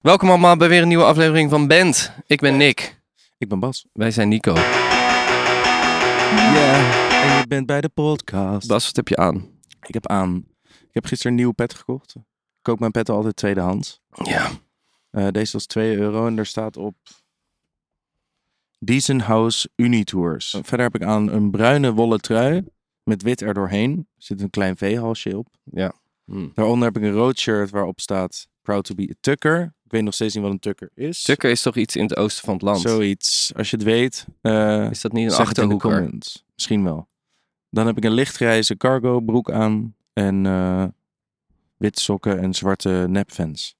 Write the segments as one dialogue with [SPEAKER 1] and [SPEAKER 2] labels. [SPEAKER 1] Welkom allemaal bij weer een nieuwe aflevering van Band. Ik ben Nick.
[SPEAKER 2] Ik ben Bas.
[SPEAKER 1] Wij zijn Nico.
[SPEAKER 2] Ja. En je bent bij de podcast.
[SPEAKER 1] Bas, wat heb je aan?
[SPEAKER 2] Ik heb aan. Ik heb gisteren een nieuwe pet gekocht. Ik koop mijn petten altijd tweedehands.
[SPEAKER 1] Ja.
[SPEAKER 2] Eh, deze was 2 euro en daar staat op. Decent House Unitours. Eh, Verder heb ik aan een bruine wollen trui. Met wit erdoorheen. Er zit een klein veehalsje op.
[SPEAKER 1] Ja. Hm.
[SPEAKER 2] Daaronder heb ik een rood shirt waarop staat. Proud to be a tucker. Ik weet nog steeds niet wat een tucker is.
[SPEAKER 1] Tukker is toch iets in het oosten van het land?
[SPEAKER 2] Zoiets. Als je het weet. eh,
[SPEAKER 1] Is dat niet een
[SPEAKER 2] Zeg het in de
[SPEAKER 1] achterhoeker?
[SPEAKER 2] comments. Misschien wel. Dan heb ik een lichtgrijze cargo broek aan en eh wit sokken en zwarte nepfans.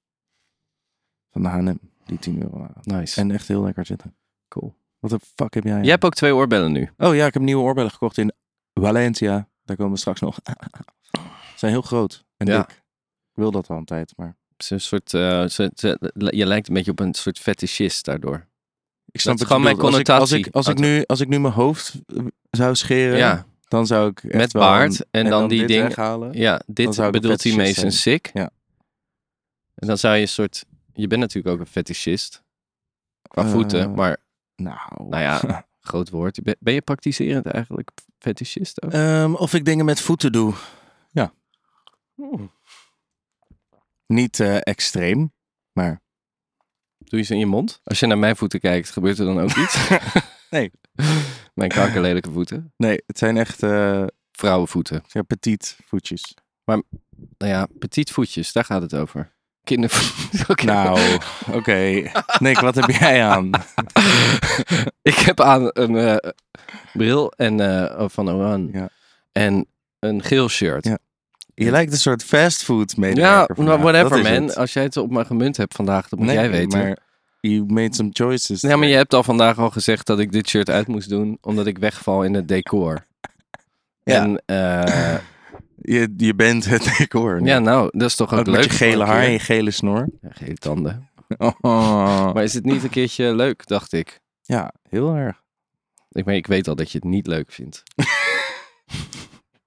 [SPEAKER 2] Van de H&M, die 10 euro waren.
[SPEAKER 1] Nice.
[SPEAKER 2] En echt heel lekker zitten.
[SPEAKER 1] Cool.
[SPEAKER 2] Wat de fuck heb jij? aan?
[SPEAKER 1] Jij hebt ook twee oorbellen nu.
[SPEAKER 2] Oh ja, ik heb nieuwe oorbellen gekocht in Valencia. Daar komen we straks nog. Ze zijn heel groot en
[SPEAKER 1] Ja.
[SPEAKER 2] dik. Ik wil dat al een tijd, maar
[SPEAKER 1] Het is een soort, eh, ze- ze- je lijkt een beetje op een soort fetischist daardoor.
[SPEAKER 2] ik
[SPEAKER 1] is
[SPEAKER 2] snap wat je
[SPEAKER 1] gewoon mijn
[SPEAKER 2] bedoelt. Als ik- Als ik,
[SPEAKER 1] connotatie.
[SPEAKER 2] als ik, nu, als ik nu mijn hoofd eh, zou scheren,
[SPEAKER 1] Ja,
[SPEAKER 2] dan zou ik echt
[SPEAKER 1] met
[SPEAKER 2] wel een-
[SPEAKER 1] baard. En, dan, die
[SPEAKER 2] dit
[SPEAKER 1] ding.
[SPEAKER 2] weghalen.
[SPEAKER 1] Ja, dit
[SPEAKER 2] zou ik een
[SPEAKER 1] bedoelt hij mee
[SPEAKER 2] fetischist
[SPEAKER 1] zijn sick.
[SPEAKER 2] Ja.
[SPEAKER 1] En dan zou je een soort... Je bent natuurlijk ook een fetischist. Qua
[SPEAKER 2] Eh,
[SPEAKER 1] voeten, maar
[SPEAKER 2] Nou,
[SPEAKER 1] Nou ja. groot woord. Ben- Ben je praktiserend eigenlijk fetischist ook?
[SPEAKER 2] Ehm, of ik dingen met voeten doe. Niet eh, extreem, maar
[SPEAKER 1] Doe je ze in je mond? Als je naar mijn voeten kijkt, gebeurt er dan ook iets?
[SPEAKER 2] Nee.
[SPEAKER 1] Mijn kankerlelijke voeten.
[SPEAKER 2] nee, het zijn echt eh
[SPEAKER 1] Vrouwenvoeten.
[SPEAKER 2] ja, petit voetjes.
[SPEAKER 1] Nou ja, petit voetjes, daar gaat het over. Kindervoeten. Oké.
[SPEAKER 2] Nou, oké. Nick, wat heb jij aan?
[SPEAKER 1] Ik heb aan een eh, bril en, eh, van Oran.
[SPEAKER 2] Ja.
[SPEAKER 1] En een geel shirt.
[SPEAKER 2] Ja, Je lijkt een soort fastfood
[SPEAKER 1] Ja,
[SPEAKER 2] medewerker.
[SPEAKER 1] nou,
[SPEAKER 2] vandaag. Dat
[SPEAKER 1] whatever
[SPEAKER 2] is
[SPEAKER 1] man.
[SPEAKER 2] het.
[SPEAKER 1] Als jij het op mijn gemunt hebt vandaag, dat moet
[SPEAKER 2] Nee,
[SPEAKER 1] jij weten.
[SPEAKER 2] maar you made some choices.
[SPEAKER 1] Ja, maar je hebt al vandaag al gezegd dat ik dit shirt uit moest doen, omdat ik wegval in het decor.
[SPEAKER 2] Ja.
[SPEAKER 1] En, eh,
[SPEAKER 2] je, je bent het decor. nu.
[SPEAKER 1] ja, nou, dat is toch ook,
[SPEAKER 2] ook
[SPEAKER 1] leuk.
[SPEAKER 2] met je
[SPEAKER 1] voor
[SPEAKER 2] gele
[SPEAKER 1] een
[SPEAKER 2] haar
[SPEAKER 1] keer.
[SPEAKER 2] en je gele snor.
[SPEAKER 1] Ja, gele tanden.
[SPEAKER 2] Oh.
[SPEAKER 1] Maar is het niet een keertje leuk, dacht ik.
[SPEAKER 2] Ja, heel erg.
[SPEAKER 1] Ik, meen, ik weet al dat je het niet leuk vindt.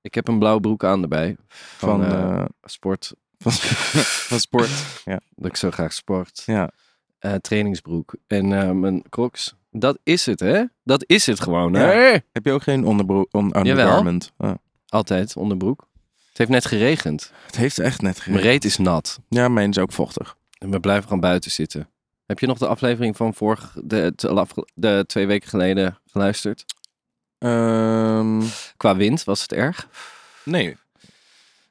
[SPEAKER 1] ik heb een blauwe broek aan erbij. Van,
[SPEAKER 2] Van,
[SPEAKER 1] eh,
[SPEAKER 2] eh,
[SPEAKER 1] sport.
[SPEAKER 2] van, van sport.
[SPEAKER 1] Dat ik zo graag sport.
[SPEAKER 2] Ja.
[SPEAKER 1] Eh, trainingsbroek. En eh, mijn crocs. Dat is het, hè? Dat is het gewoon, hè?
[SPEAKER 2] Heb je ook geen onderbroek? On, undergarment? Oh.
[SPEAKER 1] Altijd onderbroek. Het heeft net geregend.
[SPEAKER 2] Het heeft echt net geregend.
[SPEAKER 1] Mijn reet is nat.
[SPEAKER 2] Ja, mijn is ook vochtig.
[SPEAKER 1] En we blijven gewoon buiten zitten. Heb je nog de aflevering van vorige, de, te- afge- de twee weken geleden geluisterd?
[SPEAKER 2] Ehm,
[SPEAKER 1] Qua wind was het erg.
[SPEAKER 2] nee,
[SPEAKER 1] Oké,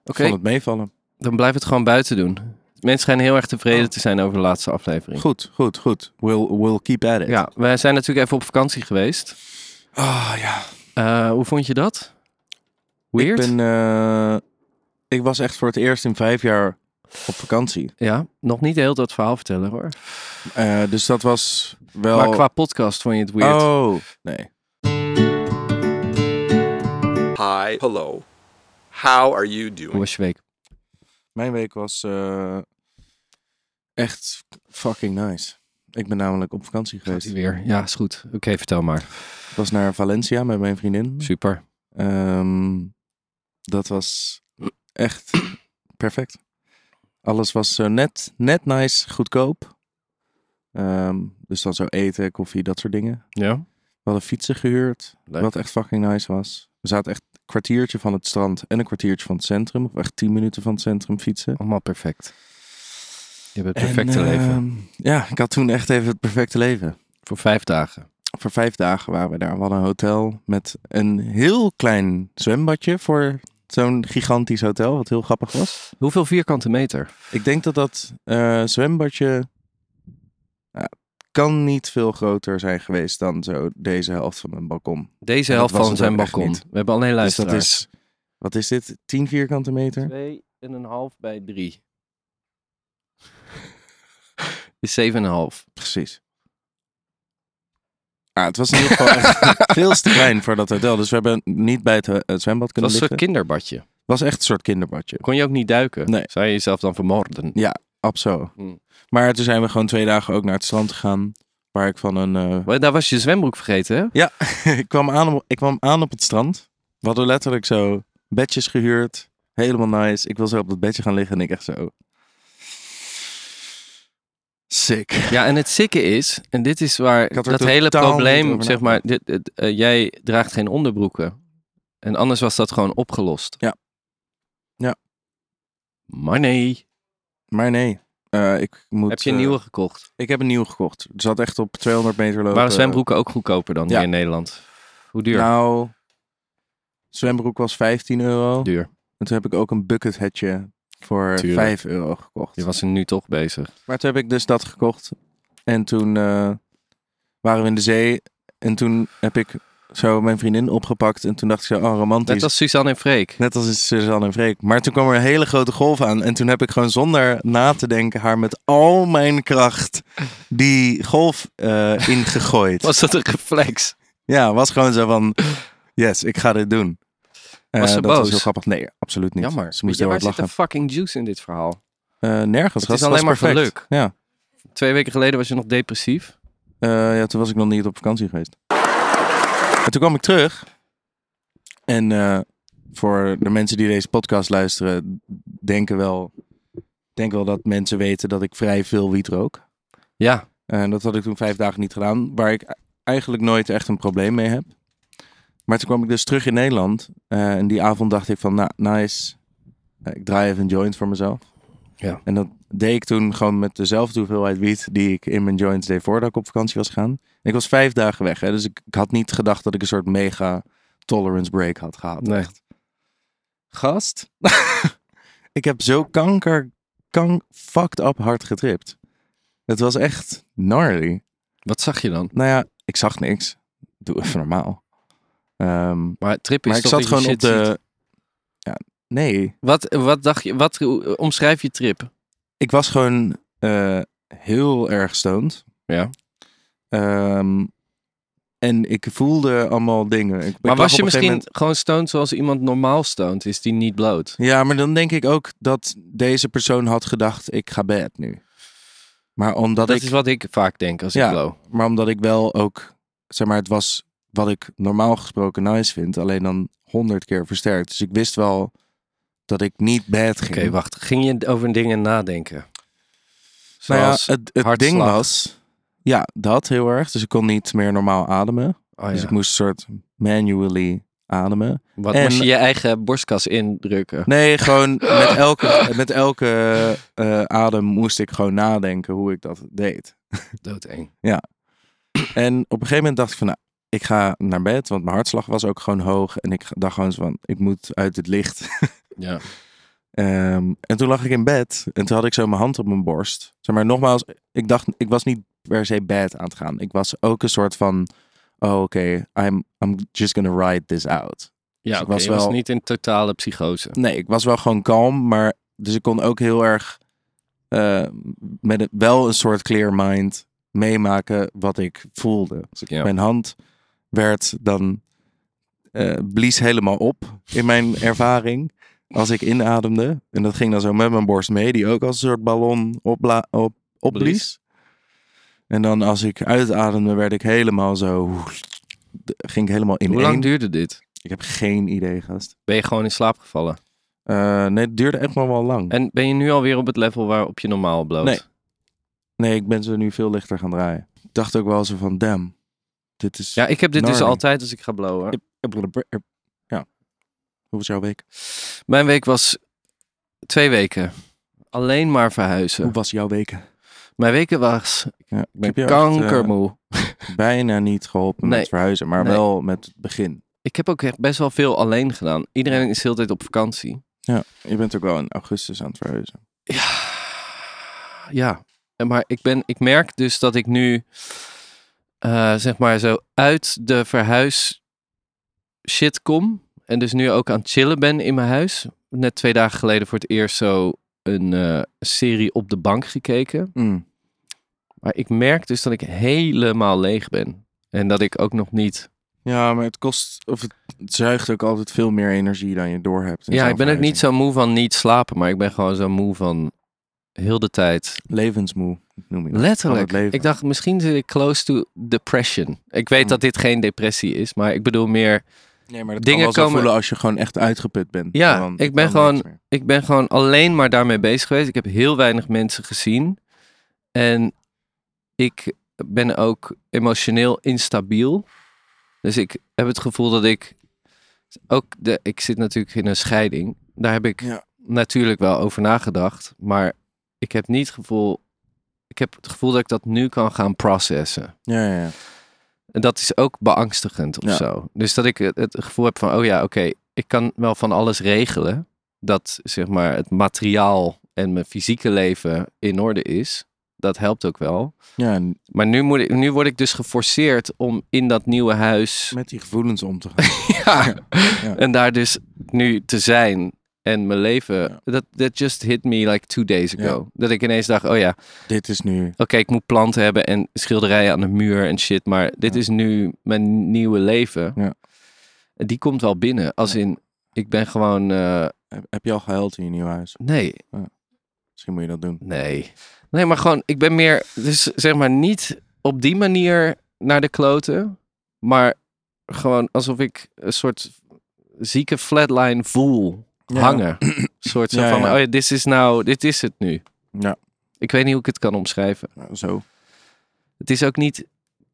[SPEAKER 2] ik vond het meevallen.
[SPEAKER 1] dan blijf het gewoon buiten doen. Mensen schijnen heel erg
[SPEAKER 2] Oh.
[SPEAKER 1] tevreden te zijn over de laatste aflevering.
[SPEAKER 2] Goed, goed, goed. We'll, we'll keep at it.
[SPEAKER 1] Ja, wij zijn natuurlijk even op vakantie geweest.
[SPEAKER 2] Ah, ja.
[SPEAKER 1] Eh, hoe vond je dat? Weird?
[SPEAKER 2] Ik, ben, eh, ik was echt voor het eerst in vijf jaar op vakantie.
[SPEAKER 1] Ja, nog niet heel dat verhaal vertellen hoor.
[SPEAKER 2] Eh, dus dat was wel...
[SPEAKER 1] Maar qua podcast vond je het weird.
[SPEAKER 2] Oh, nee.
[SPEAKER 3] Hi, hello. How are you
[SPEAKER 1] Hoe
[SPEAKER 3] doing?
[SPEAKER 1] was je week?
[SPEAKER 2] Mijn week was eh, echt fucking nice. Ik ben namelijk op vakantie
[SPEAKER 1] Gaat
[SPEAKER 2] geweest.
[SPEAKER 1] ie weer? Ja, is goed. Oké, vertel maar.
[SPEAKER 2] Ik was naar Valencia met mijn vriendin.
[SPEAKER 1] Super.
[SPEAKER 2] Ehm, dat was echt perfect. Alles was zo net, net nice, goedkoop. Ehm, dus dan zo eten, koffie, dat soort dingen.
[SPEAKER 1] Ja?
[SPEAKER 2] We hadden fietsen gehuurd,
[SPEAKER 1] Leuk.
[SPEAKER 2] wat echt fucking nice was. We zaten echt een kwartiertje van het strand en een kwartiertje van het centrum. Of echt tien minuten van het centrum fietsen.
[SPEAKER 1] Allemaal perfect. Je hebt het perfecte
[SPEAKER 2] En,
[SPEAKER 1] leven.
[SPEAKER 2] ehm, ja, ik had toen echt even het perfecte leven.
[SPEAKER 1] Voor vijf dagen.
[SPEAKER 2] Voor vijf dagen waren we daar. We hadden een hotel met een heel klein zwembadje voor zo'n gigantisch hotel. Wat heel grappig was.
[SPEAKER 1] Hoeveel vierkante meter?
[SPEAKER 2] Ik denk dat dat eh, zwembadje nou, kan niet veel groter zijn geweest dan zo deze helft van mijn balkon.
[SPEAKER 1] Deze
[SPEAKER 2] Ja, dat
[SPEAKER 1] helft
[SPEAKER 2] was
[SPEAKER 1] van
[SPEAKER 2] het
[SPEAKER 1] zijn
[SPEAKER 2] ook echt
[SPEAKER 1] balkon.
[SPEAKER 2] niet.
[SPEAKER 1] We hebben alleen
[SPEAKER 2] Dus dat
[SPEAKER 1] luisteraars.
[SPEAKER 2] is, wat is dit? 10 vierkante meter?
[SPEAKER 1] Twee en een half bij drie. is zeven en een half.
[SPEAKER 2] Precies. Ah, het was in ieder geval echt veel te klein voor dat hotel. Dus we hebben niet bij het, eh, het zwembad
[SPEAKER 1] Het was een
[SPEAKER 2] kunnen
[SPEAKER 1] soort
[SPEAKER 2] liggen.
[SPEAKER 1] kinderbadje.
[SPEAKER 2] Het was echt een soort kinderbadje.
[SPEAKER 1] Kon je ook niet duiken?
[SPEAKER 2] Nee.
[SPEAKER 1] Zou je jezelf dan vermoorden?
[SPEAKER 2] Ab zo.
[SPEAKER 1] Hmm.
[SPEAKER 2] Maar toen zijn we gewoon twee dagen ook naar het strand gegaan. Waar ik van een... eh,
[SPEAKER 1] Maar Daar was je zwembroek vergeten, hè?
[SPEAKER 2] ik, kwam aan op, ik kwam aan op het strand. We hadden letterlijk zo bedjes gehuurd. Helemaal nice. Ik wil zo op dat bedje gaan liggen en ik echt zo... Sick.
[SPEAKER 1] Ja, en het sikke is, en dit is waar
[SPEAKER 2] had er
[SPEAKER 1] dat hele
[SPEAKER 2] totaal niet
[SPEAKER 1] probleem,
[SPEAKER 2] over
[SPEAKER 1] zeg maar, dit, dit, eh, jij draagt geen onderbroeken. En anders was dat gewoon opgelost.
[SPEAKER 2] Ja. Ja.
[SPEAKER 1] Maar nee,
[SPEAKER 2] Maar nee, eh, ik moet...
[SPEAKER 1] heb je een
[SPEAKER 2] eh,
[SPEAKER 1] nieuwe gekocht?
[SPEAKER 2] Ik heb een nieuwe gekocht. Het zat echt op 200 meter lopen.
[SPEAKER 1] Waren zwembroeken ook goedkoper dan
[SPEAKER 2] eh, ja.
[SPEAKER 1] hier in Nederland? Hoe duur?
[SPEAKER 2] Nou, zwembroek was 15 euro.
[SPEAKER 1] duur.
[SPEAKER 2] En toen heb ik ook een bucket hatje voor
[SPEAKER 1] Tuurlijk.
[SPEAKER 2] 5 euro gekocht.
[SPEAKER 1] Je was er nu toch bezig.
[SPEAKER 2] Maar toen heb ik dus dat gekocht. En toen eh, waren we in de zee. En toen heb ik zo mijn vriendin opgepakt. En toen dacht ik zo, oh romantisch.
[SPEAKER 1] Net als Suzanne en Freek.
[SPEAKER 2] Net als in Suzanne en Freek. Maar toen kwam er een hele grote golf aan. En toen heb ik gewoon zonder na te denken haar met al mijn kracht die golf eh, ingegooid.
[SPEAKER 1] Was dat een reflex?
[SPEAKER 2] Ja, was gewoon zo van, yes, ik ga dit doen. Eh,
[SPEAKER 1] Was ze
[SPEAKER 2] dat was
[SPEAKER 1] boos?
[SPEAKER 2] heel grappig. Nee, absoluut niet.
[SPEAKER 1] Jammer.
[SPEAKER 2] Ze moest heel
[SPEAKER 1] waar
[SPEAKER 2] hard
[SPEAKER 1] zit
[SPEAKER 2] lachen.
[SPEAKER 1] de fucking juice in dit verhaal?
[SPEAKER 2] Eh, nergens.
[SPEAKER 1] Het is
[SPEAKER 2] gast.
[SPEAKER 1] alleen
[SPEAKER 2] was
[SPEAKER 1] maar
[SPEAKER 2] perfect.
[SPEAKER 1] geluk.
[SPEAKER 2] Ja.
[SPEAKER 1] Twee weken geleden was je nog depressief.
[SPEAKER 2] Eh, ja, toen was ik nog niet op vakantie geweest. En toen kwam ik terug. En eh, voor de mensen die deze podcast luisteren, denken wel, denk wel dat mensen weten dat ik vrij veel wiet rook.
[SPEAKER 1] Ja,
[SPEAKER 2] En Eh, dat had ik toen vijf dagen niet gedaan, waar ik eigenlijk nooit echt een probleem mee heb. Maar toen kwam ik dus terug in Nederland. eh, en die avond dacht ik van, nou, nice. Eh, ik draai even een joint voor mezelf.
[SPEAKER 1] Ja.
[SPEAKER 2] En dat deed ik toen gewoon met dezelfde hoeveelheid wiet die ik in mijn joints deed voordat ik op vakantie was gegaan. En ik was vijf dagen weg, hè, dus ik, ik had niet gedacht dat ik een soort mega tolerance break had gehad.
[SPEAKER 1] Nee.
[SPEAKER 2] Echt. Gast, ik heb zo kanker, kank, fucked up hard getript. Het was echt gnarly.
[SPEAKER 1] wat zag je dan?
[SPEAKER 2] Nou ja, ik zag niks. Doe even normaal. Ehm,
[SPEAKER 1] Maar trip is
[SPEAKER 2] maar ik
[SPEAKER 1] toch dat
[SPEAKER 2] zat
[SPEAKER 1] je
[SPEAKER 2] gewoon op
[SPEAKER 1] shit
[SPEAKER 2] de.
[SPEAKER 1] ziet?
[SPEAKER 2] Ja, nee,
[SPEAKER 1] Wat, wat dacht je? Wat hoe- eh, omschrijf je trip?
[SPEAKER 2] ik was gewoon eh, heel erg stoned.
[SPEAKER 1] Ja.
[SPEAKER 2] Ehm, en ik voelde allemaal dingen. Ik, ik
[SPEAKER 1] Maar
[SPEAKER 2] lag
[SPEAKER 1] was
[SPEAKER 2] op
[SPEAKER 1] je
[SPEAKER 2] een gegeven
[SPEAKER 1] misschien
[SPEAKER 2] moment-
[SPEAKER 1] gewoon stoned zoals iemand normaal stoned is die niet bloot?
[SPEAKER 2] Ja, maar dan denk ik ook dat deze persoon had gedacht: ik ga bed nu. Maar omdat
[SPEAKER 1] Dat,
[SPEAKER 2] ik
[SPEAKER 1] is wat ik vaak denk als
[SPEAKER 2] Ja.
[SPEAKER 1] ik blow.
[SPEAKER 2] Maar omdat ik wel ook, zeg maar, het was wat ik normaal gesproken nice vind, alleen dan honderd keer versterkt. Dus ik wist wel dat ik niet bad ging.
[SPEAKER 1] Oké, wacht. Ging je over dingen nadenken?
[SPEAKER 2] nou ja,
[SPEAKER 1] Zoals...
[SPEAKER 2] het, het
[SPEAKER 1] hartslag.
[SPEAKER 2] ding was, ja, dat heel erg. Dus ik kon niet meer normaal ademen.
[SPEAKER 1] oh
[SPEAKER 2] Dus
[SPEAKER 1] ja.
[SPEAKER 2] ik moest een soort manually ademen.
[SPEAKER 1] Wat
[SPEAKER 2] en-
[SPEAKER 1] moest je je eigen borstkas indrukken?
[SPEAKER 2] Nee, gewoon met elke, met elke eh, adem moest ik gewoon nadenken hoe ik dat deed.
[SPEAKER 1] Doodeng.
[SPEAKER 2] En op een gegeven moment dacht ik van, nou, ik ga naar bed, want mijn hartslag was ook gewoon hoog. En ik dacht gewoon zo van, ik moet uit het licht.
[SPEAKER 1] Ja.
[SPEAKER 2] Ehm, en toen lag ik in bed en toen had ik zo mijn hand op mijn borst. Zeg maar nogmaals, ik dacht, ik was niet per se bad aan het gaan. Ik was ook een soort van, oh oké, I'm, I'm just gonna ride this out.
[SPEAKER 1] Ja, oké.
[SPEAKER 2] Dus ik was
[SPEAKER 1] je was
[SPEAKER 2] wel-
[SPEAKER 1] niet in totale psychose.
[SPEAKER 2] Nee, ik was wel gewoon kalm, maar dus ik kon ook heel erg eh, met een- wel een soort clear mind meemaken wat ik voelde. Dus ik-
[SPEAKER 1] Ja.
[SPEAKER 2] Mijn hand werd dan eh, blies helemaal op in mijn ervaring als ik inademde. En dat ging dan zo met mijn borst mee, die ook als een soort ballon opbla- op, opblies. En dan als ik uitademde, werd ik helemaal zo. Ging ik helemaal in
[SPEAKER 1] Hoe lang duurde dit?
[SPEAKER 2] Ik heb geen idee, gast.
[SPEAKER 1] Ben je gewoon in slaap gevallen?
[SPEAKER 2] Eh, nee, het duurde echt wel wel lang.
[SPEAKER 1] En ben je nu alweer op het level waarop je normaal bloot?
[SPEAKER 2] Nee. Nee, ik ben ze nu veel lichter gaan draaien. Ik dacht ook wel zo van, damn, dit is...
[SPEAKER 1] Ja, ik heb dit dus
[SPEAKER 2] Gnarly.
[SPEAKER 1] altijd als ik ga blowen.
[SPEAKER 2] Ja. Hoe was jouw week?
[SPEAKER 1] Mijn week was twee weken. Alleen maar verhuizen.
[SPEAKER 2] Hoe was jouw week? Ja,
[SPEAKER 1] Mijn weken was
[SPEAKER 2] ik
[SPEAKER 1] ik
[SPEAKER 2] heb
[SPEAKER 1] ben
[SPEAKER 2] jou echt, eh,
[SPEAKER 1] kankermoe.
[SPEAKER 2] bijna niet geholpen
[SPEAKER 1] Nee.
[SPEAKER 2] met verhuizen, maar
[SPEAKER 1] Nee.
[SPEAKER 2] wel met het begin.
[SPEAKER 1] Ik heb ook echt best wel veel alleen gedaan. Iedereen is de hele tijd op vakantie.
[SPEAKER 2] Je bent ook wel in augustus aan het verhuizen.
[SPEAKER 1] Ja, ja. En maar ik, ben, ik merk dus dat ik nu, eh, zeg maar, zo uit de verhuis shit kom. En dus nu ook aan het chillen ben in mijn huis. Net twee dagen geleden voor het eerst zo een eh, serie op de bank gekeken. Maar ik merk dus dat ik helemaal leeg ben. En dat ik ook nog niet.
[SPEAKER 2] Ja, maar het kost, of het, het zuigt ook altijd veel meer energie dan je doorhebt. in
[SPEAKER 1] ja,
[SPEAKER 2] zo'n
[SPEAKER 1] ik ben ook niet
[SPEAKER 2] verhuizing.
[SPEAKER 1] zo moe van niet slapen. Maar ik ben gewoon zo moe van heel de tijd
[SPEAKER 2] Levensmoe, noem je dat.
[SPEAKER 1] Letterlijk.
[SPEAKER 2] Van het leven.
[SPEAKER 1] Ik dacht, misschien zit ik close to depression. Ik weet
[SPEAKER 2] Mm.
[SPEAKER 1] dat dit geen depressie is, maar ik bedoel meer...
[SPEAKER 2] Nee, maar dat
[SPEAKER 1] Dingen
[SPEAKER 2] kan wel zo
[SPEAKER 1] komen-
[SPEAKER 2] voelen als je gewoon echt uitgeput bent.
[SPEAKER 1] Ja,
[SPEAKER 2] Dan-
[SPEAKER 1] ik ben
[SPEAKER 2] dan niks
[SPEAKER 1] gewoon-
[SPEAKER 2] meer.
[SPEAKER 1] Ik ben gewoon alleen maar daarmee bezig geweest. Ik heb heel weinig mensen gezien. En ik ben ook emotioneel instabiel. Dus ik heb het gevoel dat ik ook de, ik zit natuurlijk in een scheiding. Daar heb ik
[SPEAKER 2] Ja.
[SPEAKER 1] natuurlijk wel over nagedacht, maar ik heb niet het gevoel ik heb het gevoel dat ik dat nu kan gaan processen.
[SPEAKER 2] Ja, ja, ja.
[SPEAKER 1] En dat is ook beangstigend of
[SPEAKER 2] Ja.
[SPEAKER 1] zo. Dus dat ik het, het gevoel heb van, oh ja, oké, ik kan wel van alles regelen. Dat zeg maar het materiaal en mijn fysieke leven in orde is. Dat helpt ook wel.
[SPEAKER 2] ja en
[SPEAKER 1] Maar nu, moet ik, nu word ik dus geforceerd om in dat nieuwe huis.
[SPEAKER 2] met die gevoelens om te gaan.
[SPEAKER 1] Ja. En daar dus nu te zijn. En mijn leven.
[SPEAKER 2] Ja.
[SPEAKER 1] Dat that just hit me like two days ago. Dat ik ineens dacht, oh ja, oké,
[SPEAKER 2] Dit is nu...
[SPEAKER 1] ik moet planten hebben en schilderijen aan de muur en shit. Maar dit
[SPEAKER 2] Ja.
[SPEAKER 1] is nu mijn nieuwe leven.
[SPEAKER 2] Ja.
[SPEAKER 1] Die komt wel binnen. Als
[SPEAKER 2] Ja.
[SPEAKER 1] in, ik ben gewoon. eh,
[SPEAKER 2] Heb, heb je al gehuild in je nieuw huis?
[SPEAKER 1] nee,
[SPEAKER 2] Misschien moet je dat doen.
[SPEAKER 1] nee. Nee, maar gewoon, ik ben meer. Dus zeg maar niet op die manier naar de kloten. Maar gewoon alsof ik een soort zieke flatline voel
[SPEAKER 2] Ja.
[SPEAKER 1] hangen. Een soort zo
[SPEAKER 2] Ja,
[SPEAKER 1] van:
[SPEAKER 2] ja.
[SPEAKER 1] oh ja, dit is nou, dit is het nu.
[SPEAKER 2] Ja.
[SPEAKER 1] Ik weet niet hoe ik het kan omschrijven.
[SPEAKER 2] Nou, Zo.
[SPEAKER 1] Het is ook niet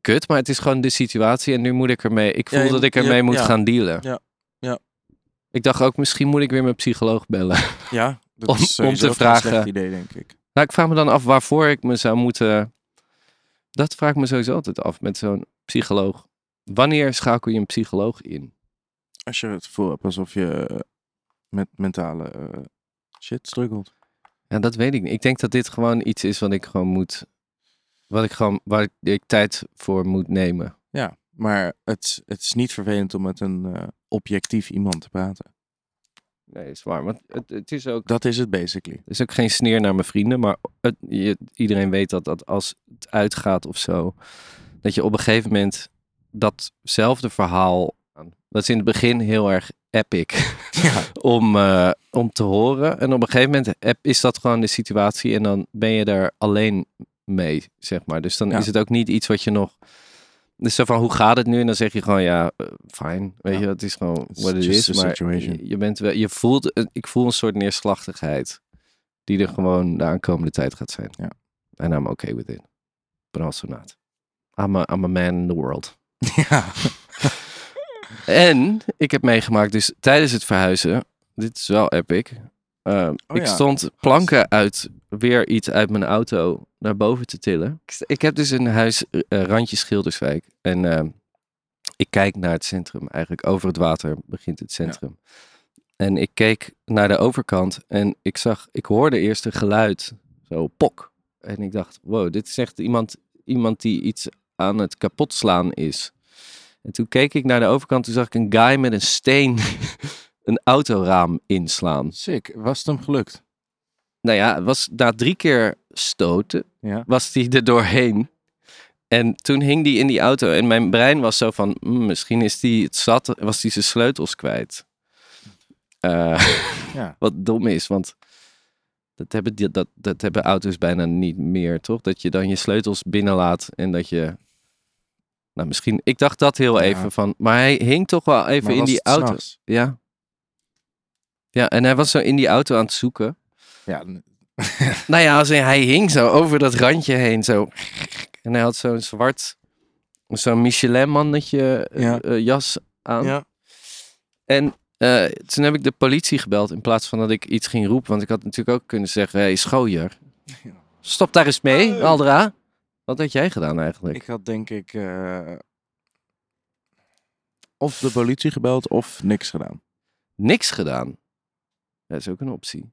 [SPEAKER 1] kut, maar het is gewoon de situatie. En nu moet ik ermee. Ik
[SPEAKER 2] Ja,
[SPEAKER 1] voel
[SPEAKER 2] je
[SPEAKER 1] dat
[SPEAKER 2] moet-
[SPEAKER 1] ik ermee
[SPEAKER 2] je-
[SPEAKER 1] moet
[SPEAKER 2] ja.
[SPEAKER 1] gaan dealen.
[SPEAKER 2] Ja. Ja.
[SPEAKER 1] Ik dacht ook, misschien moet ik weer mijn psycholoog bellen.
[SPEAKER 2] Ja, dat
[SPEAKER 1] Om-
[SPEAKER 2] is
[SPEAKER 1] om
[SPEAKER 2] sowieso
[SPEAKER 1] te
[SPEAKER 2] geen
[SPEAKER 1] vragen.
[SPEAKER 2] slecht idee, denk ik.
[SPEAKER 1] Nou, ik vraag me dan af waarvoor ik me zou moeten. Dat vraag ik me sowieso altijd af met zo'n psycholoog. Wanneer schakel je een psycholoog in?
[SPEAKER 2] Als je het gevoel hebt alsof je eh, met mentale eh, shit struggelt.
[SPEAKER 1] Ja, dat weet ik niet. Ik denk dat dit gewoon iets is wat ik gewoon moet. Wat ik gewoon, waar ik, ik tijd voor moet nemen.
[SPEAKER 2] Ja, maar het, het is niet vervelend om met een eh, objectief iemand te praten.
[SPEAKER 1] Nee, is waar. Want het, het is ook.
[SPEAKER 2] Dat is het basically.
[SPEAKER 1] Het is ook geen sneer naar mijn vrienden, maar het- je, iedereen weet dat, dat als het uitgaat of zo, dat je op een gegeven moment datzelfde verhaal. Dat is in het begin heel erg epic om, eh, om te horen. En op een gegeven moment heb- is dat gewoon de situatie en dan ben je daar alleen mee, zeg maar. Dus dan
[SPEAKER 2] Ja.
[SPEAKER 1] is het ook niet iets wat je nog. Dus zo van hoe gaat het nu? En dan zeg je gewoon ja, eh, fijn. Weet
[SPEAKER 2] Ja.
[SPEAKER 1] je, het is gewoon
[SPEAKER 2] It's
[SPEAKER 1] wat het
[SPEAKER 2] just
[SPEAKER 1] is.
[SPEAKER 2] a
[SPEAKER 1] Maar
[SPEAKER 2] situation.
[SPEAKER 1] je, je bent wel, je voelt, een- ik voel een soort neerslachtigheid die er gewoon de aankomende tijd gaat zijn.
[SPEAKER 2] Ja.
[SPEAKER 1] En I'm okay with it. But also not. I'm a, I'm a man in the world.
[SPEAKER 2] ja.
[SPEAKER 1] En ik heb meegemaakt, dus tijdens het verhuizen, dit is wel epic. eh,
[SPEAKER 2] Oh
[SPEAKER 1] ik
[SPEAKER 2] ja.
[SPEAKER 1] stond planken uit weer iets uit mijn auto naar boven te tillen. Ik, st- ik heb dus een huis, eh, randje Schilderswijk. En eh, ik kijk naar het centrum, eigenlijk over het water begint het centrum. En ik keek naar de overkant en ik zag, ik hoorde eerst een geluid, zo pok. En ik dacht, wow, dit is echt iemand, iemand die iets aan het kapot slaan is. En toen keek ik naar de overkant, toen zag ik een guy met een steen een autoraam inslaan.
[SPEAKER 2] Sick, was het hem gelukt?
[SPEAKER 1] Nou ja, het was na drie keer stoten,
[SPEAKER 2] Ja.
[SPEAKER 1] was hij er doorheen. En toen hing die in die auto en mijn brein was zo van, "Mm, misschien is die het zat, was die zijn sleutels kwijt. Eh,
[SPEAKER 2] Ja.
[SPEAKER 1] wat dom is, want dat hebben, die- dat, dat hebben auto's bijna niet meer, toch? Dat je dan je sleutels binnenlaat en dat je... Nou, misschien... Ik dacht dat heel
[SPEAKER 2] Ja.
[SPEAKER 1] even van... Maar hij hing toch wel even
[SPEAKER 2] Maar
[SPEAKER 1] in
[SPEAKER 2] was
[SPEAKER 1] die
[SPEAKER 2] het
[SPEAKER 1] auto.
[SPEAKER 2] s'nachts?
[SPEAKER 1] Ja. Ja, en hij was zo in die auto aan het zoeken.
[SPEAKER 2] Ja, n-
[SPEAKER 1] Nou ja, als in, hij hing zo over dat randje heen. Zo. En hij had zo'n zwart, zo'n Michelin-mannetje eh,
[SPEAKER 2] Ja.
[SPEAKER 1] eh, jas aan.
[SPEAKER 2] ja.
[SPEAKER 1] En eh, toen heb ik de politie gebeld in plaats van dat ik iets ging roepen. Want ik had natuurlijk ook kunnen zeggen, hé hey, schooier,
[SPEAKER 2] Ja.
[SPEAKER 1] stop daar eens mee,
[SPEAKER 2] Hey.
[SPEAKER 1] Aldra. Wat had jij gedaan eigenlijk?
[SPEAKER 2] ik had denk ik eh, of de politie gebeld of niks gedaan.
[SPEAKER 1] Niks gedaan. Dat is ook een optie.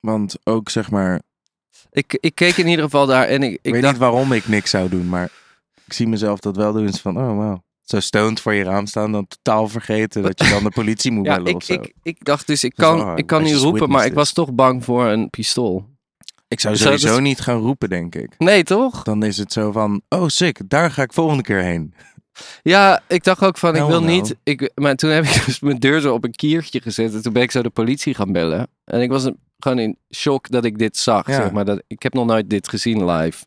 [SPEAKER 2] Want ook zeg maar,
[SPEAKER 1] Ik, ik keek in ieder geval daar en ik,
[SPEAKER 2] ik
[SPEAKER 1] ik
[SPEAKER 2] weet
[SPEAKER 1] dacht...
[SPEAKER 2] niet waarom ik niks zou doen, maar ik zie mezelf dat wel doen. Het is van, oh wow. Zo stoned voor je raam staan, dan totaal vergeten dat je dan de politie moet
[SPEAKER 1] Ja,
[SPEAKER 2] bellen
[SPEAKER 1] ik,
[SPEAKER 2] of zo.
[SPEAKER 1] ik, ik dacht dus, ik
[SPEAKER 2] Dus,
[SPEAKER 1] kan,
[SPEAKER 2] oh,
[SPEAKER 1] ik kan
[SPEAKER 2] I
[SPEAKER 1] nu
[SPEAKER 2] just
[SPEAKER 1] roepen, maar
[SPEAKER 2] witnessed
[SPEAKER 1] ik was toch bang voor een pistool.
[SPEAKER 2] Ik
[SPEAKER 1] Zou
[SPEAKER 2] zou sowieso
[SPEAKER 1] dat-
[SPEAKER 2] niet gaan roepen, denk ik.
[SPEAKER 1] Nee, toch?
[SPEAKER 2] Dan is het zo van, oh sick, daar ga ik volgende keer heen.
[SPEAKER 1] Ja, ik dacht ook van, ik
[SPEAKER 2] Nou,
[SPEAKER 1] wil
[SPEAKER 2] nou.
[SPEAKER 1] niet... Ik, maar toen heb ik dus mijn deur zo op een kiertje gezet. En toen ben ik zo de politie gaan bellen. En ik was een- gewoon in shock dat ik dit zag.
[SPEAKER 2] Ja.
[SPEAKER 1] Zeg maar, dat, ik heb nog nooit dit gezien live.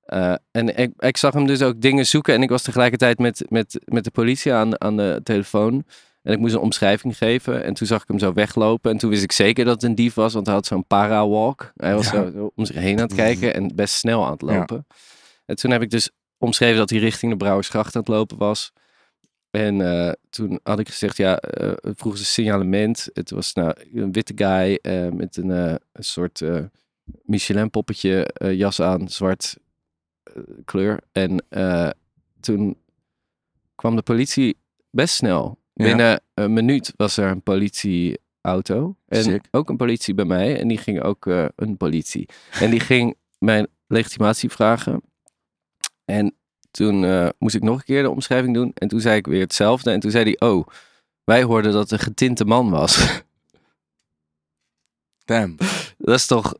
[SPEAKER 1] Eh, en ik, ik zag hem dus ook dingen zoeken. En ik was tegelijkertijd met, met, met de politie aan, aan de telefoon. En ik moest een omschrijving geven. En toen zag ik hem zo weglopen. En toen wist ik zeker dat het een dief was. Want hij had zo'n para-walk. Hij was
[SPEAKER 2] Ja.
[SPEAKER 1] zo, zo om zich heen aan het kijken. En best snel aan het
[SPEAKER 2] Ja.
[SPEAKER 1] lopen. En En toen heb ik dus omschreven dat hij richting de Brouwersgracht aan het lopen was. En eh, toen had ik gezegd, ja, eh vroeg ze signalement. Het was nou, een witte guy eh, met een, eh, een soort eh, Michelin-poppetje, eh, jas aan, zwart eh, kleur. En eh, toen kwam de politie best snel.
[SPEAKER 2] Ja.
[SPEAKER 1] Binnen een minuut was er een politieauto. En
[SPEAKER 2] Sick.
[SPEAKER 1] ook een politie bij mij. En die ging ook eh, een politie. En die ging mijn legitimatie vragen. En toen eh, moest ik nog een keer de omschrijving doen. En toen zei ik weer hetzelfde. En toen zei hij, oh, wij hoorden dat het een getinte man was.
[SPEAKER 2] Damn.
[SPEAKER 1] dat is toch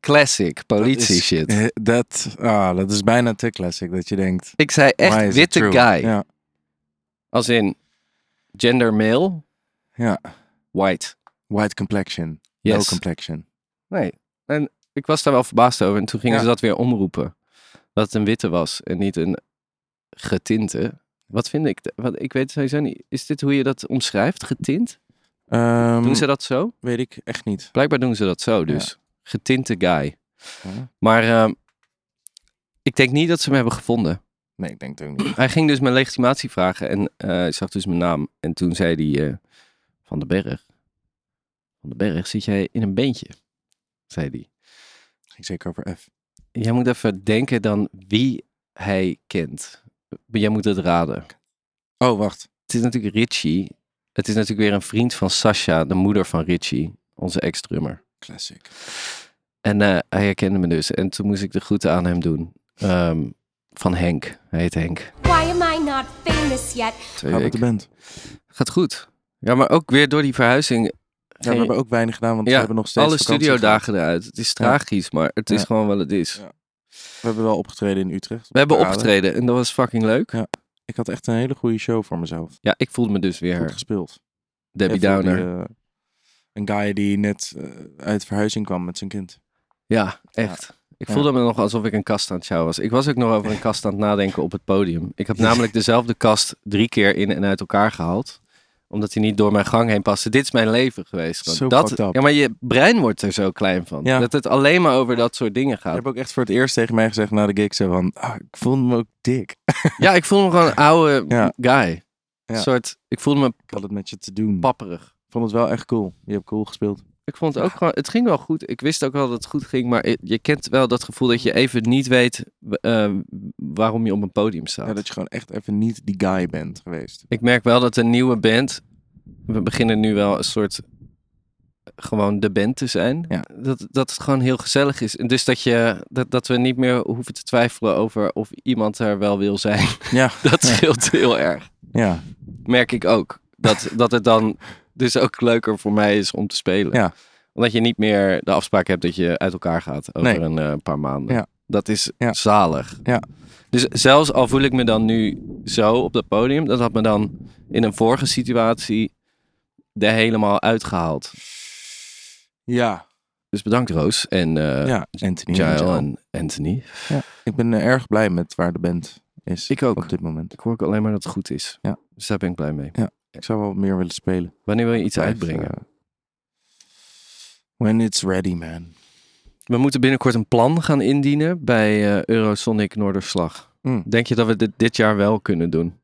[SPEAKER 1] classic politie
[SPEAKER 2] Dat is-
[SPEAKER 1] shit.
[SPEAKER 2] eh, Dat, ah, dat is bijna te classic dat je denkt.
[SPEAKER 1] Ik zei
[SPEAKER 2] why is
[SPEAKER 1] echt
[SPEAKER 2] it
[SPEAKER 1] witte
[SPEAKER 2] true?
[SPEAKER 1] guy.
[SPEAKER 2] Ja,
[SPEAKER 1] Als in gender male,
[SPEAKER 2] ja.
[SPEAKER 1] white.
[SPEAKER 2] White complexion. No
[SPEAKER 1] Yes.
[SPEAKER 2] complexion.
[SPEAKER 1] nee. En ik was daar wel verbaasd over. En toen gingen
[SPEAKER 2] Ja.
[SPEAKER 1] ze dat weer omroepen. Dat het een witte was en niet een getinte. Wat vind ik? Wat, ik weet sowieso niet. Is dit hoe je dat omschrijft? Getint?
[SPEAKER 2] Ehm,
[SPEAKER 1] Doen ze dat zo?
[SPEAKER 2] Weet ik echt niet.
[SPEAKER 1] Blijkbaar doen ze dat zo dus. Getinte guy.
[SPEAKER 2] Ja.
[SPEAKER 1] Maar ehm, ik denk niet dat ze hem hebben gevonden.
[SPEAKER 2] Nee, ik denk het ook niet.
[SPEAKER 1] Hij ging dus mijn legitimatie vragen en eh, hij zag dus mijn naam. En toen zei hij, eh, Van den Berg, Van den Berg, zit jij in een beentje? Zei hij.
[SPEAKER 2] Ging zeker over F.
[SPEAKER 1] Jij moet even denken dan wie hij kent. Jij moet het raden.
[SPEAKER 2] Oh, wacht.
[SPEAKER 1] Het is natuurlijk Richie. Het is natuurlijk weer een vriend van Sasha, de moeder van Richie, onze ex-drummer.
[SPEAKER 2] Classic.
[SPEAKER 1] En eh, hij herkende me dus. En toen moest ik de groeten aan hem doen. Ehm, van Henk. Hij heet Henk.
[SPEAKER 4] Why am I not famous yet?
[SPEAKER 1] Twee
[SPEAKER 2] Gaat met de
[SPEAKER 1] weken.
[SPEAKER 2] band.
[SPEAKER 1] Gaat goed. Ja, maar ook weer door die verhuizing.
[SPEAKER 2] Ja, we hebben ook weinig gedaan, want we
[SPEAKER 1] Ja,
[SPEAKER 2] hebben nog steeds
[SPEAKER 1] alle
[SPEAKER 2] vakantie
[SPEAKER 1] studiodagen eruit. Het is tragisch, maar het is
[SPEAKER 2] Ja.
[SPEAKER 1] gewoon wat het is.
[SPEAKER 2] Ja. gehad. We hebben wel opgetreden in Utrecht.
[SPEAKER 1] We hebben
[SPEAKER 2] Parade.
[SPEAKER 1] opgetreden en dat was fucking leuk.
[SPEAKER 2] Ja. Ik had echt een hele goede show voor mezelf.
[SPEAKER 1] Ja, ik voelde me dus
[SPEAKER 2] Goed
[SPEAKER 1] weer
[SPEAKER 2] gespeeld.
[SPEAKER 1] Debbie
[SPEAKER 2] Even die,
[SPEAKER 1] Downer.
[SPEAKER 2] eh, een guy die net eh, uit verhuizing kwam met zijn kind.
[SPEAKER 1] Ja, echt. Ik voelde me nog alsof ik een kast aan het sjouwen was. Ik was ook nog over een kast aan het nadenken op het podium. Ik heb namelijk dezelfde kast drie keer in en uit elkaar gehaald. Omdat hij niet door mijn gang heen paste. Dit is mijn leven geweest. gewoon.
[SPEAKER 2] Zo
[SPEAKER 1] dat,
[SPEAKER 2] fucked up.
[SPEAKER 1] ja, maar je brein wordt er zo klein van.
[SPEAKER 2] Ja.
[SPEAKER 1] Dat het alleen maar over dat soort dingen
[SPEAKER 2] Je
[SPEAKER 1] gaat.
[SPEAKER 2] hebt ook echt voor het eerst tegen mij gezegd na de gig, zo van, ah, ik voel me ook dik.
[SPEAKER 1] Ja, ik voel me gewoon een oude
[SPEAKER 2] Ja.
[SPEAKER 1] guy.
[SPEAKER 2] Ja.
[SPEAKER 1] Een soort, ik voelde me
[SPEAKER 2] Ik had het met je te doen.
[SPEAKER 1] papperig.
[SPEAKER 2] Ik vond het wel echt cool. Je hebt cool gespeeld.
[SPEAKER 1] Ik vond het ook gewoon, het ging wel goed. Ik wist ook wel dat het goed ging, maar je- je kent wel dat gevoel dat je
[SPEAKER 2] Mm.
[SPEAKER 1] even niet weet eh, waarom je op een podium staat.
[SPEAKER 2] Ja, dat je gewoon echt even niet die guy bent geweest.
[SPEAKER 1] Ik merk wel dat een nieuwe band. We beginnen nu wel een soort. gewoon de band te zijn.
[SPEAKER 2] Ja.
[SPEAKER 1] Dat, dat het gewoon heel gezellig is. En dus dat, je, dat, dat we niet meer hoeven te twijfelen over of iemand er wel wil zijn.
[SPEAKER 2] Ja,
[SPEAKER 1] Dat scheelt heel erg.
[SPEAKER 2] ja.
[SPEAKER 1] Merk ik ook. Dat, dat het dan dus ook leuker voor mij is om te spelen.
[SPEAKER 2] Ja.
[SPEAKER 1] Omdat je niet meer de afspraak hebt dat je uit elkaar gaat over
[SPEAKER 2] Nee.
[SPEAKER 1] een eh, paar maanden.
[SPEAKER 2] Ja.
[SPEAKER 1] Dat is
[SPEAKER 2] Ja.
[SPEAKER 1] zalig.
[SPEAKER 2] Ja.
[SPEAKER 1] Dus zelfs al voel ik me dan nu zo op dat podium, dat had me dan in een vorige situatie er helemaal uitgehaald.
[SPEAKER 2] Ja.
[SPEAKER 1] Dus bedankt Roos en eh
[SPEAKER 2] ja, Anthony.
[SPEAKER 1] Jael
[SPEAKER 2] Angel.
[SPEAKER 1] en Anthony.
[SPEAKER 2] Ik ben eh, erg blij met waar de band is.
[SPEAKER 1] Ik ook.
[SPEAKER 2] Op dit moment.
[SPEAKER 1] Ik hoor ook alleen maar dat het goed is.
[SPEAKER 2] Ja.
[SPEAKER 1] Dus daar ben ik blij mee.
[SPEAKER 2] Ik zou wel meer willen spelen.
[SPEAKER 1] Wanneer wil je iets
[SPEAKER 2] Blijf,
[SPEAKER 1] uitbrengen?
[SPEAKER 2] eh, when it's ready, man.
[SPEAKER 1] We moeten binnenkort een plan gaan indienen bij eh, Eurosonic Noorderslag.
[SPEAKER 2] Mm.
[SPEAKER 1] Denk je dat we dit dit jaar wel kunnen doen?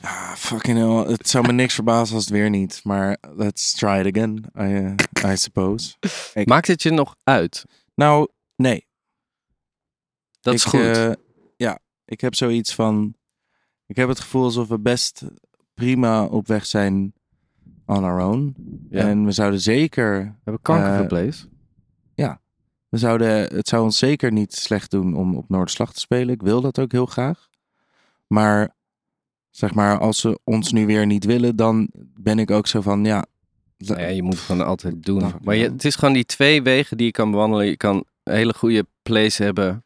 [SPEAKER 2] Ah, fucking hell. Het zou me niks verbazen als het weer niet. Maar let's try it again, I, eh, I suppose. Ik-
[SPEAKER 1] Maakt het je nog uit?
[SPEAKER 2] Nou, nee.
[SPEAKER 1] Dat is
[SPEAKER 2] Ik,
[SPEAKER 1] goed.
[SPEAKER 2] eh, ja, ik heb zoiets van. Ik heb het gevoel alsof we best prima op weg zijn on our own.
[SPEAKER 1] Ja.
[SPEAKER 2] En we zouden zeker.
[SPEAKER 1] we hebben kanker
[SPEAKER 2] eh,
[SPEAKER 1] verblezen.
[SPEAKER 2] We zouden, het zou ons zeker niet slecht doen om op Noorderslag te spelen. Ik wil dat ook heel graag. Maar zeg maar, als ze ons nu weer niet willen, dan ben ik ook zo van ja. la-
[SPEAKER 1] Nou ja, je moet het gewoon altijd doen.
[SPEAKER 2] Dank je
[SPEAKER 1] maar je,
[SPEAKER 2] wel.
[SPEAKER 1] het is gewoon die twee wegen die je kan bewandelen. Je kan een hele goede plays hebben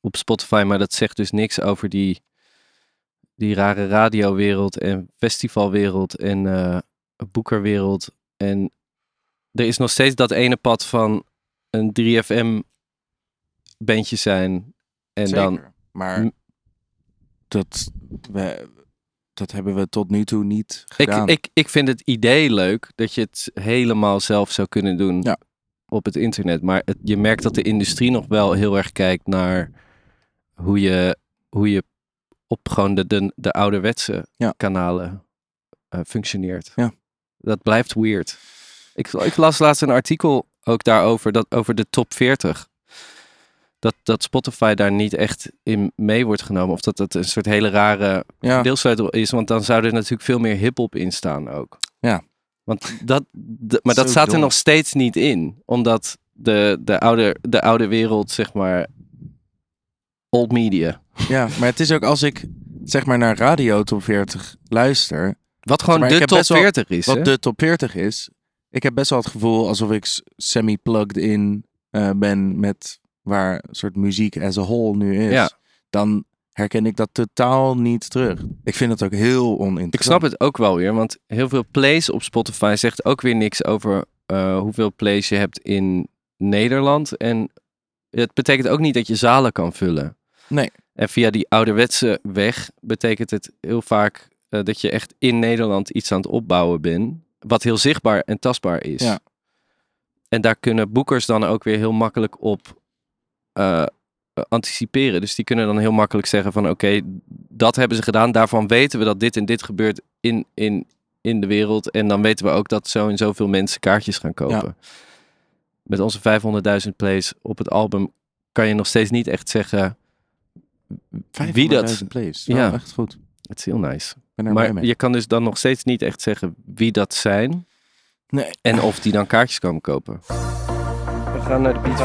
[SPEAKER 1] op Spotify, maar dat zegt dus niks over die, die rare radiowereld en festivalwereld en eh, boekerwereld. En er is nog steeds dat ene pad van een 3FM bandje zijn en
[SPEAKER 2] Zeker,
[SPEAKER 1] dan
[SPEAKER 2] Maar
[SPEAKER 1] M-
[SPEAKER 2] dat, we, dat hebben we tot nu toe niet
[SPEAKER 1] Ik,
[SPEAKER 2] gedaan.
[SPEAKER 1] ik, ik vind het idee leuk dat je het helemaal zelf zou kunnen doen
[SPEAKER 2] Ja.
[SPEAKER 1] op het internet. Maar het- je merkt dat de industrie nog wel heel erg kijkt naar hoe je, hoe je op gewoon de, de, de ouderwetse
[SPEAKER 2] Ja.
[SPEAKER 1] kanalen eh, functioneert.
[SPEAKER 2] Ja.
[SPEAKER 1] Dat blijft weird. Ik, ik las laatst een artikel ook daarover, dat, over de top 40. Dat, dat Spotify daar niet echt in mee wordt genomen. Of dat dat een soort hele rare
[SPEAKER 2] Ja,
[SPEAKER 1] deelsleutel is. Want dan zou er natuurlijk veel meer hip-hop in staan ook.
[SPEAKER 2] Ja.
[SPEAKER 1] Want dat, d- maar dat
[SPEAKER 2] Zo
[SPEAKER 1] staat er
[SPEAKER 2] dom.
[SPEAKER 1] nog steeds niet in. Omdat de, de, oude, de oude wereld, zeg maar. Old media.
[SPEAKER 2] ja, maar het is ook als ik zeg maar naar radio top 40 luister,
[SPEAKER 1] Wat gewoon
[SPEAKER 2] Maar ik
[SPEAKER 1] de
[SPEAKER 2] heb
[SPEAKER 1] top
[SPEAKER 2] best wel
[SPEAKER 1] 40 is. hè?
[SPEAKER 2] wat de top 40 is. Ik heb best wel het gevoel alsof ik s- semi-plugged in eh, ben met waar een soort muziek as a whole nu is.
[SPEAKER 1] Ja.
[SPEAKER 2] Dan herken ik dat totaal niet terug. Ik vind het ook heel oninteressant.
[SPEAKER 1] Ik snap het ook wel weer, want heel veel plays op Spotify zegt ook weer niks over eh, hoeveel plays je hebt in Nederland. En het betekent ook niet dat je zalen kan vullen.
[SPEAKER 2] Nee.
[SPEAKER 1] En via die ouderwetse weg betekent het heel vaak eh, dat je echt in Nederland iets aan het opbouwen bent. Wat heel zichtbaar en tastbaar is.
[SPEAKER 2] Ja.
[SPEAKER 1] En daar kunnen boekers dan ook weer heel makkelijk op eh, anticiperen. Dus die kunnen dan heel makkelijk zeggen van oké, dat hebben ze gedaan. Daarvan weten we dat dit en dit gebeurt in, in, in de wereld. En dan weten we ook dat zo en zoveel mensen kaartjes gaan kopen. Met onze 500.000 plays op het album kan je nog steeds niet echt zeggen, wie dat-
[SPEAKER 2] 500.000 Plays. Ja.
[SPEAKER 1] Ja.
[SPEAKER 2] echt goed.
[SPEAKER 1] het is heel nice.
[SPEAKER 2] Ik ben er blij
[SPEAKER 1] maar
[SPEAKER 2] mee.
[SPEAKER 1] je kan dus dan nog steeds niet echt zeggen wie dat zijn
[SPEAKER 2] Nee.
[SPEAKER 1] en of die dan kaartjes komen kopen. We gaan naar de Piet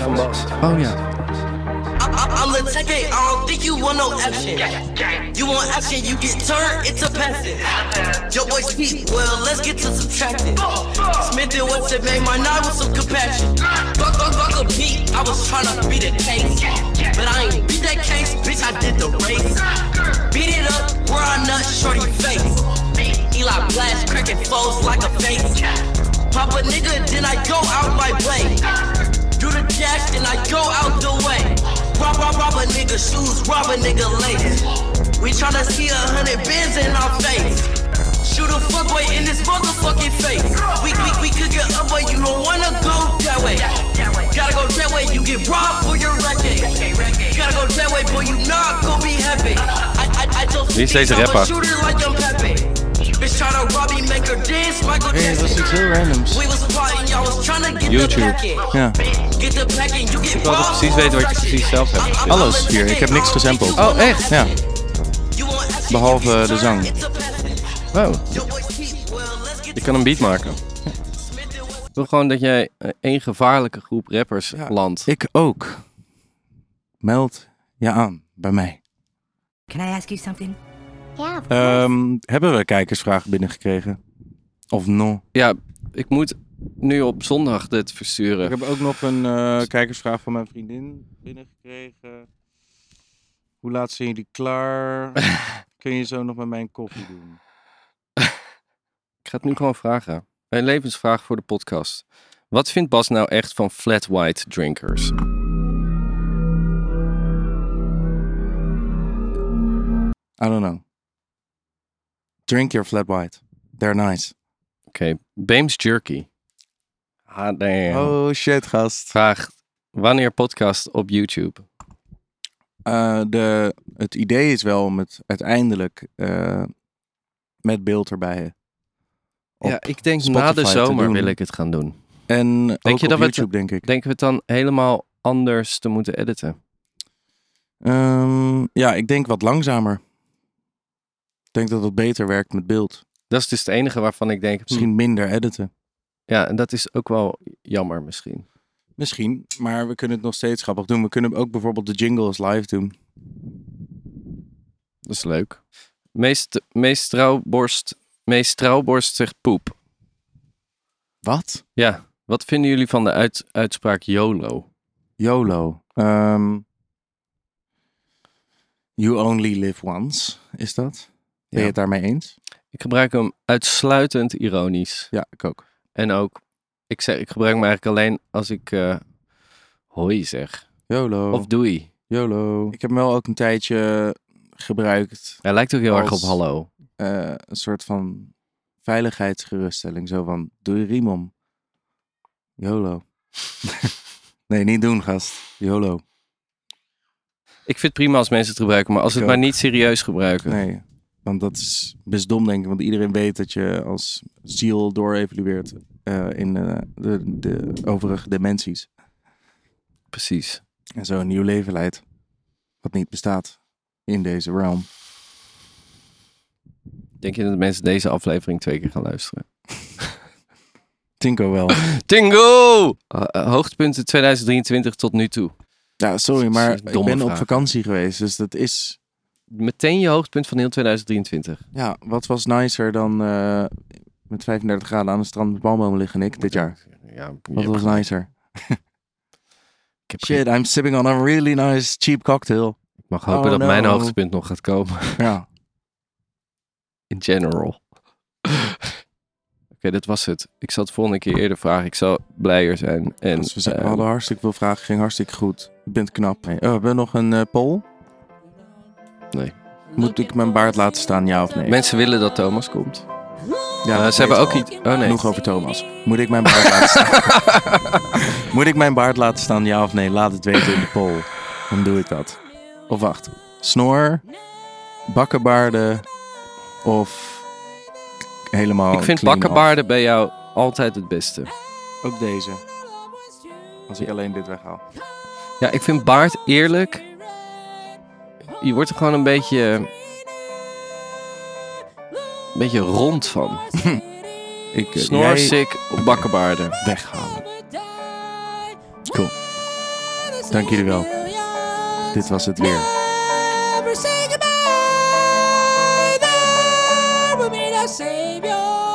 [SPEAKER 1] van Bas. Oh ja.
[SPEAKER 5] I'm a tech it, I don't think you want no action. You want action, you get turned into passive. Your boy speak, well, let's get to subtracting. Smith and Wesson made my nine with some compassion. Fuck, fuck, fuck a beat, I was tryna beat a case. But I ain't beat that case, bitch, I did the race. Beat it up, where I nut, shorty face. Eli blast, cracking foes like a face. Pop a nigga, then I go out my way. Do the dash, then I go out the way. Rob, rob, rob a nigga shoes, rob a nigga lace. We tryna see a hundred bands in our face. Shoot a fuckboy in this motherfucking face. We, we, we could get up, but you don't wanna go that way. Gotta go that way, you get robbed for your record. Gotta go that way, boy, you not gonna be happy. I, I, I just
[SPEAKER 1] Wie is deze
[SPEAKER 5] think I'm a
[SPEAKER 1] rapper?
[SPEAKER 5] shooter like I'm Pepe. Bitch tryna rob me, make her dance, Michael
[SPEAKER 2] Hey, dat is
[SPEAKER 5] Jackson.
[SPEAKER 2] iets heel randoms.
[SPEAKER 5] We was partying, y'all was tryna get the
[SPEAKER 1] YouTube.
[SPEAKER 5] packet.
[SPEAKER 2] Ja.
[SPEAKER 5] Get the packet, you get
[SPEAKER 1] wil altijd precies weten wat je precies zelf hebt gezien.
[SPEAKER 2] Alles hier. Ik heb niks gesampled.
[SPEAKER 1] Oh, echt?
[SPEAKER 2] Ja.
[SPEAKER 5] Behalve de zang.
[SPEAKER 1] Oh, je kan een beat maken. Ik wil gewoon dat jij eh, één gevaarlijke groep rappers
[SPEAKER 2] Ja.
[SPEAKER 1] landt.
[SPEAKER 2] Ik ook. Meld je aan bij mij.
[SPEAKER 6] Can I ask you something?
[SPEAKER 4] Yeah, of course.
[SPEAKER 2] Ehm, hebben we kijkersvragen binnengekregen? Of no?
[SPEAKER 1] Ja, ik moet nu op zondag dit versturen.
[SPEAKER 2] Ik heb ook nog een eh, kijkersvraag van mijn vriendin binnengekregen. Hoe laat zijn jullie klaar? Kun je zo nog met mijn koffie doen?
[SPEAKER 1] Ik ga het nu gewoon vragen. Een levensvraag voor de podcast. Wat vindt Bas nou echt van flat white drinkers?
[SPEAKER 2] I don't know. Drink your flat white. They're nice.
[SPEAKER 1] Oké, Bames Jerky. Ah, damn.
[SPEAKER 2] Oh shit, gast.
[SPEAKER 1] Vraag, wanneer podcast op YouTube?
[SPEAKER 2] Eh, de, het idee is wel om het uiteindelijk eh, met beeld erbij. eh, op
[SPEAKER 1] ja, ik denk na
[SPEAKER 2] Spotify
[SPEAKER 1] de
[SPEAKER 2] te
[SPEAKER 1] zomer
[SPEAKER 2] doen.
[SPEAKER 1] wil ik het gaan doen.
[SPEAKER 2] En denk ook
[SPEAKER 1] je
[SPEAKER 2] op
[SPEAKER 1] dat we het-
[SPEAKER 2] YouTube, denk ik.
[SPEAKER 1] Denken we het dan helemaal anders te moeten editen?
[SPEAKER 2] Ehm, ja, ik denk wat langzamer. Ik denk dat het beter werkt met beeld.
[SPEAKER 1] Dat is dus het enige waarvan ik denk... Misschien...
[SPEAKER 2] Misschien minder editen.
[SPEAKER 1] Ja, en dat is ook wel jammer misschien.
[SPEAKER 2] Misschien, maar we kunnen het nog steeds grappig doen. We kunnen ook bijvoorbeeld de jingles live doen.
[SPEAKER 1] Dat is leuk. Meest, meest trouwborst... Meest trouwborst zegt poep.
[SPEAKER 2] Wat?
[SPEAKER 1] Ja, wat vinden jullie van de uit, uitspraak YOLO?
[SPEAKER 2] YOLO. Ehm, you only live once, is dat? Ben
[SPEAKER 1] Ja.
[SPEAKER 2] je het daarmee eens?
[SPEAKER 1] Ik gebruik hem uitsluitend ironisch.
[SPEAKER 2] Ja, ik ook.
[SPEAKER 1] En ook, ik, zeg, ik gebruik hem eigenlijk alleen als ik eh, hoi zeg.
[SPEAKER 2] YOLO.
[SPEAKER 1] Of doei.
[SPEAKER 2] YOLO. Ik heb hem wel ook een tijdje gebruikt.
[SPEAKER 1] Hij lijkt ook heel erg op
[SPEAKER 2] Als-
[SPEAKER 1] hallo.
[SPEAKER 2] eh, een soort van veiligheidsgeruststelling. Zo van, doe je riem om. YOLO. nee, niet doen, gast. YOLO.
[SPEAKER 1] Ik vind het prima als mensen het gebruiken, maar als
[SPEAKER 2] Ik
[SPEAKER 1] het maar
[SPEAKER 2] ook.
[SPEAKER 1] niet serieus gebruiken.
[SPEAKER 2] Nee, want dat is best dom denk ik. Want iedereen weet dat je als ziel doorevalueert eh, in eh, de, de overige dimensies.
[SPEAKER 1] Precies.
[SPEAKER 2] En zo een nieuw leven leidt. Wat niet bestaat in deze realm.
[SPEAKER 1] Denk je dat mensen deze aflevering twee keer gaan luisteren?
[SPEAKER 2] Tinko wel.
[SPEAKER 1] Tingo! Eh, eh, hoogtepunten 2023 tot nu toe.
[SPEAKER 2] Ja, sorry,
[SPEAKER 1] Dat is
[SPEAKER 2] maar ik
[SPEAKER 1] een
[SPEAKER 2] ben
[SPEAKER 1] domme
[SPEAKER 2] op
[SPEAKER 1] vraag.
[SPEAKER 2] vakantie geweest. Dus dat is...
[SPEAKER 1] Meteen je hoogtepunt van heel 2023.
[SPEAKER 2] Ja, wat was nicer dan eh, met 35 graden aan het strand met palmbomen liggen, ik, dit jaar.
[SPEAKER 1] Ja, je
[SPEAKER 2] Wat
[SPEAKER 1] hebt-
[SPEAKER 2] was nicer?
[SPEAKER 1] ik, heb-
[SPEAKER 2] Shit, I'm sipping on a really nice cheap cocktail.
[SPEAKER 1] ik mag hopen
[SPEAKER 2] Oh,
[SPEAKER 1] dat mijn
[SPEAKER 2] no.
[SPEAKER 1] hoogtepunt nog gaat komen.
[SPEAKER 2] Ja,
[SPEAKER 1] In general. Oké, dat was het. Ik zal het volgende keer eerder vragen. Ik zal blijer zijn. En,
[SPEAKER 2] dus we, zijn, we
[SPEAKER 1] eh,
[SPEAKER 2] hadden hartstikke veel vragen, ging hartstikke goed. Je bent knap. Hey, oh, we hebben nog een eh, poll.
[SPEAKER 1] Nee.
[SPEAKER 2] Moet ik mijn baard laten staan, ja of nee?
[SPEAKER 1] Mensen willen dat Thomas komt.
[SPEAKER 2] ja,
[SPEAKER 1] Eh,
[SPEAKER 2] dat
[SPEAKER 1] ze hebben
[SPEAKER 2] weet
[SPEAKER 1] ook
[SPEAKER 2] ik
[SPEAKER 1] iets. Oh nee.
[SPEAKER 2] Genoeg over Thomas. Moet ik mijn baard laten staan? Moet ik mijn baard laten staan, ja of nee? Laat het weten in de poll. Dan doe ik dat. Of wacht. Snor, bakkenbaarden of helemaal
[SPEAKER 1] ik vind
[SPEAKER 2] clean af?
[SPEAKER 1] bakkenbaarden bij jou altijd het beste.
[SPEAKER 2] Ook deze. Als ik alleen dit weghaal.
[SPEAKER 1] Ja, ik vind baard eerlijk. Je wordt er gewoon een beetje. Een beetje rond van.
[SPEAKER 2] Ik eh,
[SPEAKER 1] Snor,
[SPEAKER 2] jij
[SPEAKER 1] sick, bakkenbaarden.
[SPEAKER 2] weghalen. Cool. Dank jullie wel. Dit was het weer.
[SPEAKER 7] Never say goodbye. There will be no savior.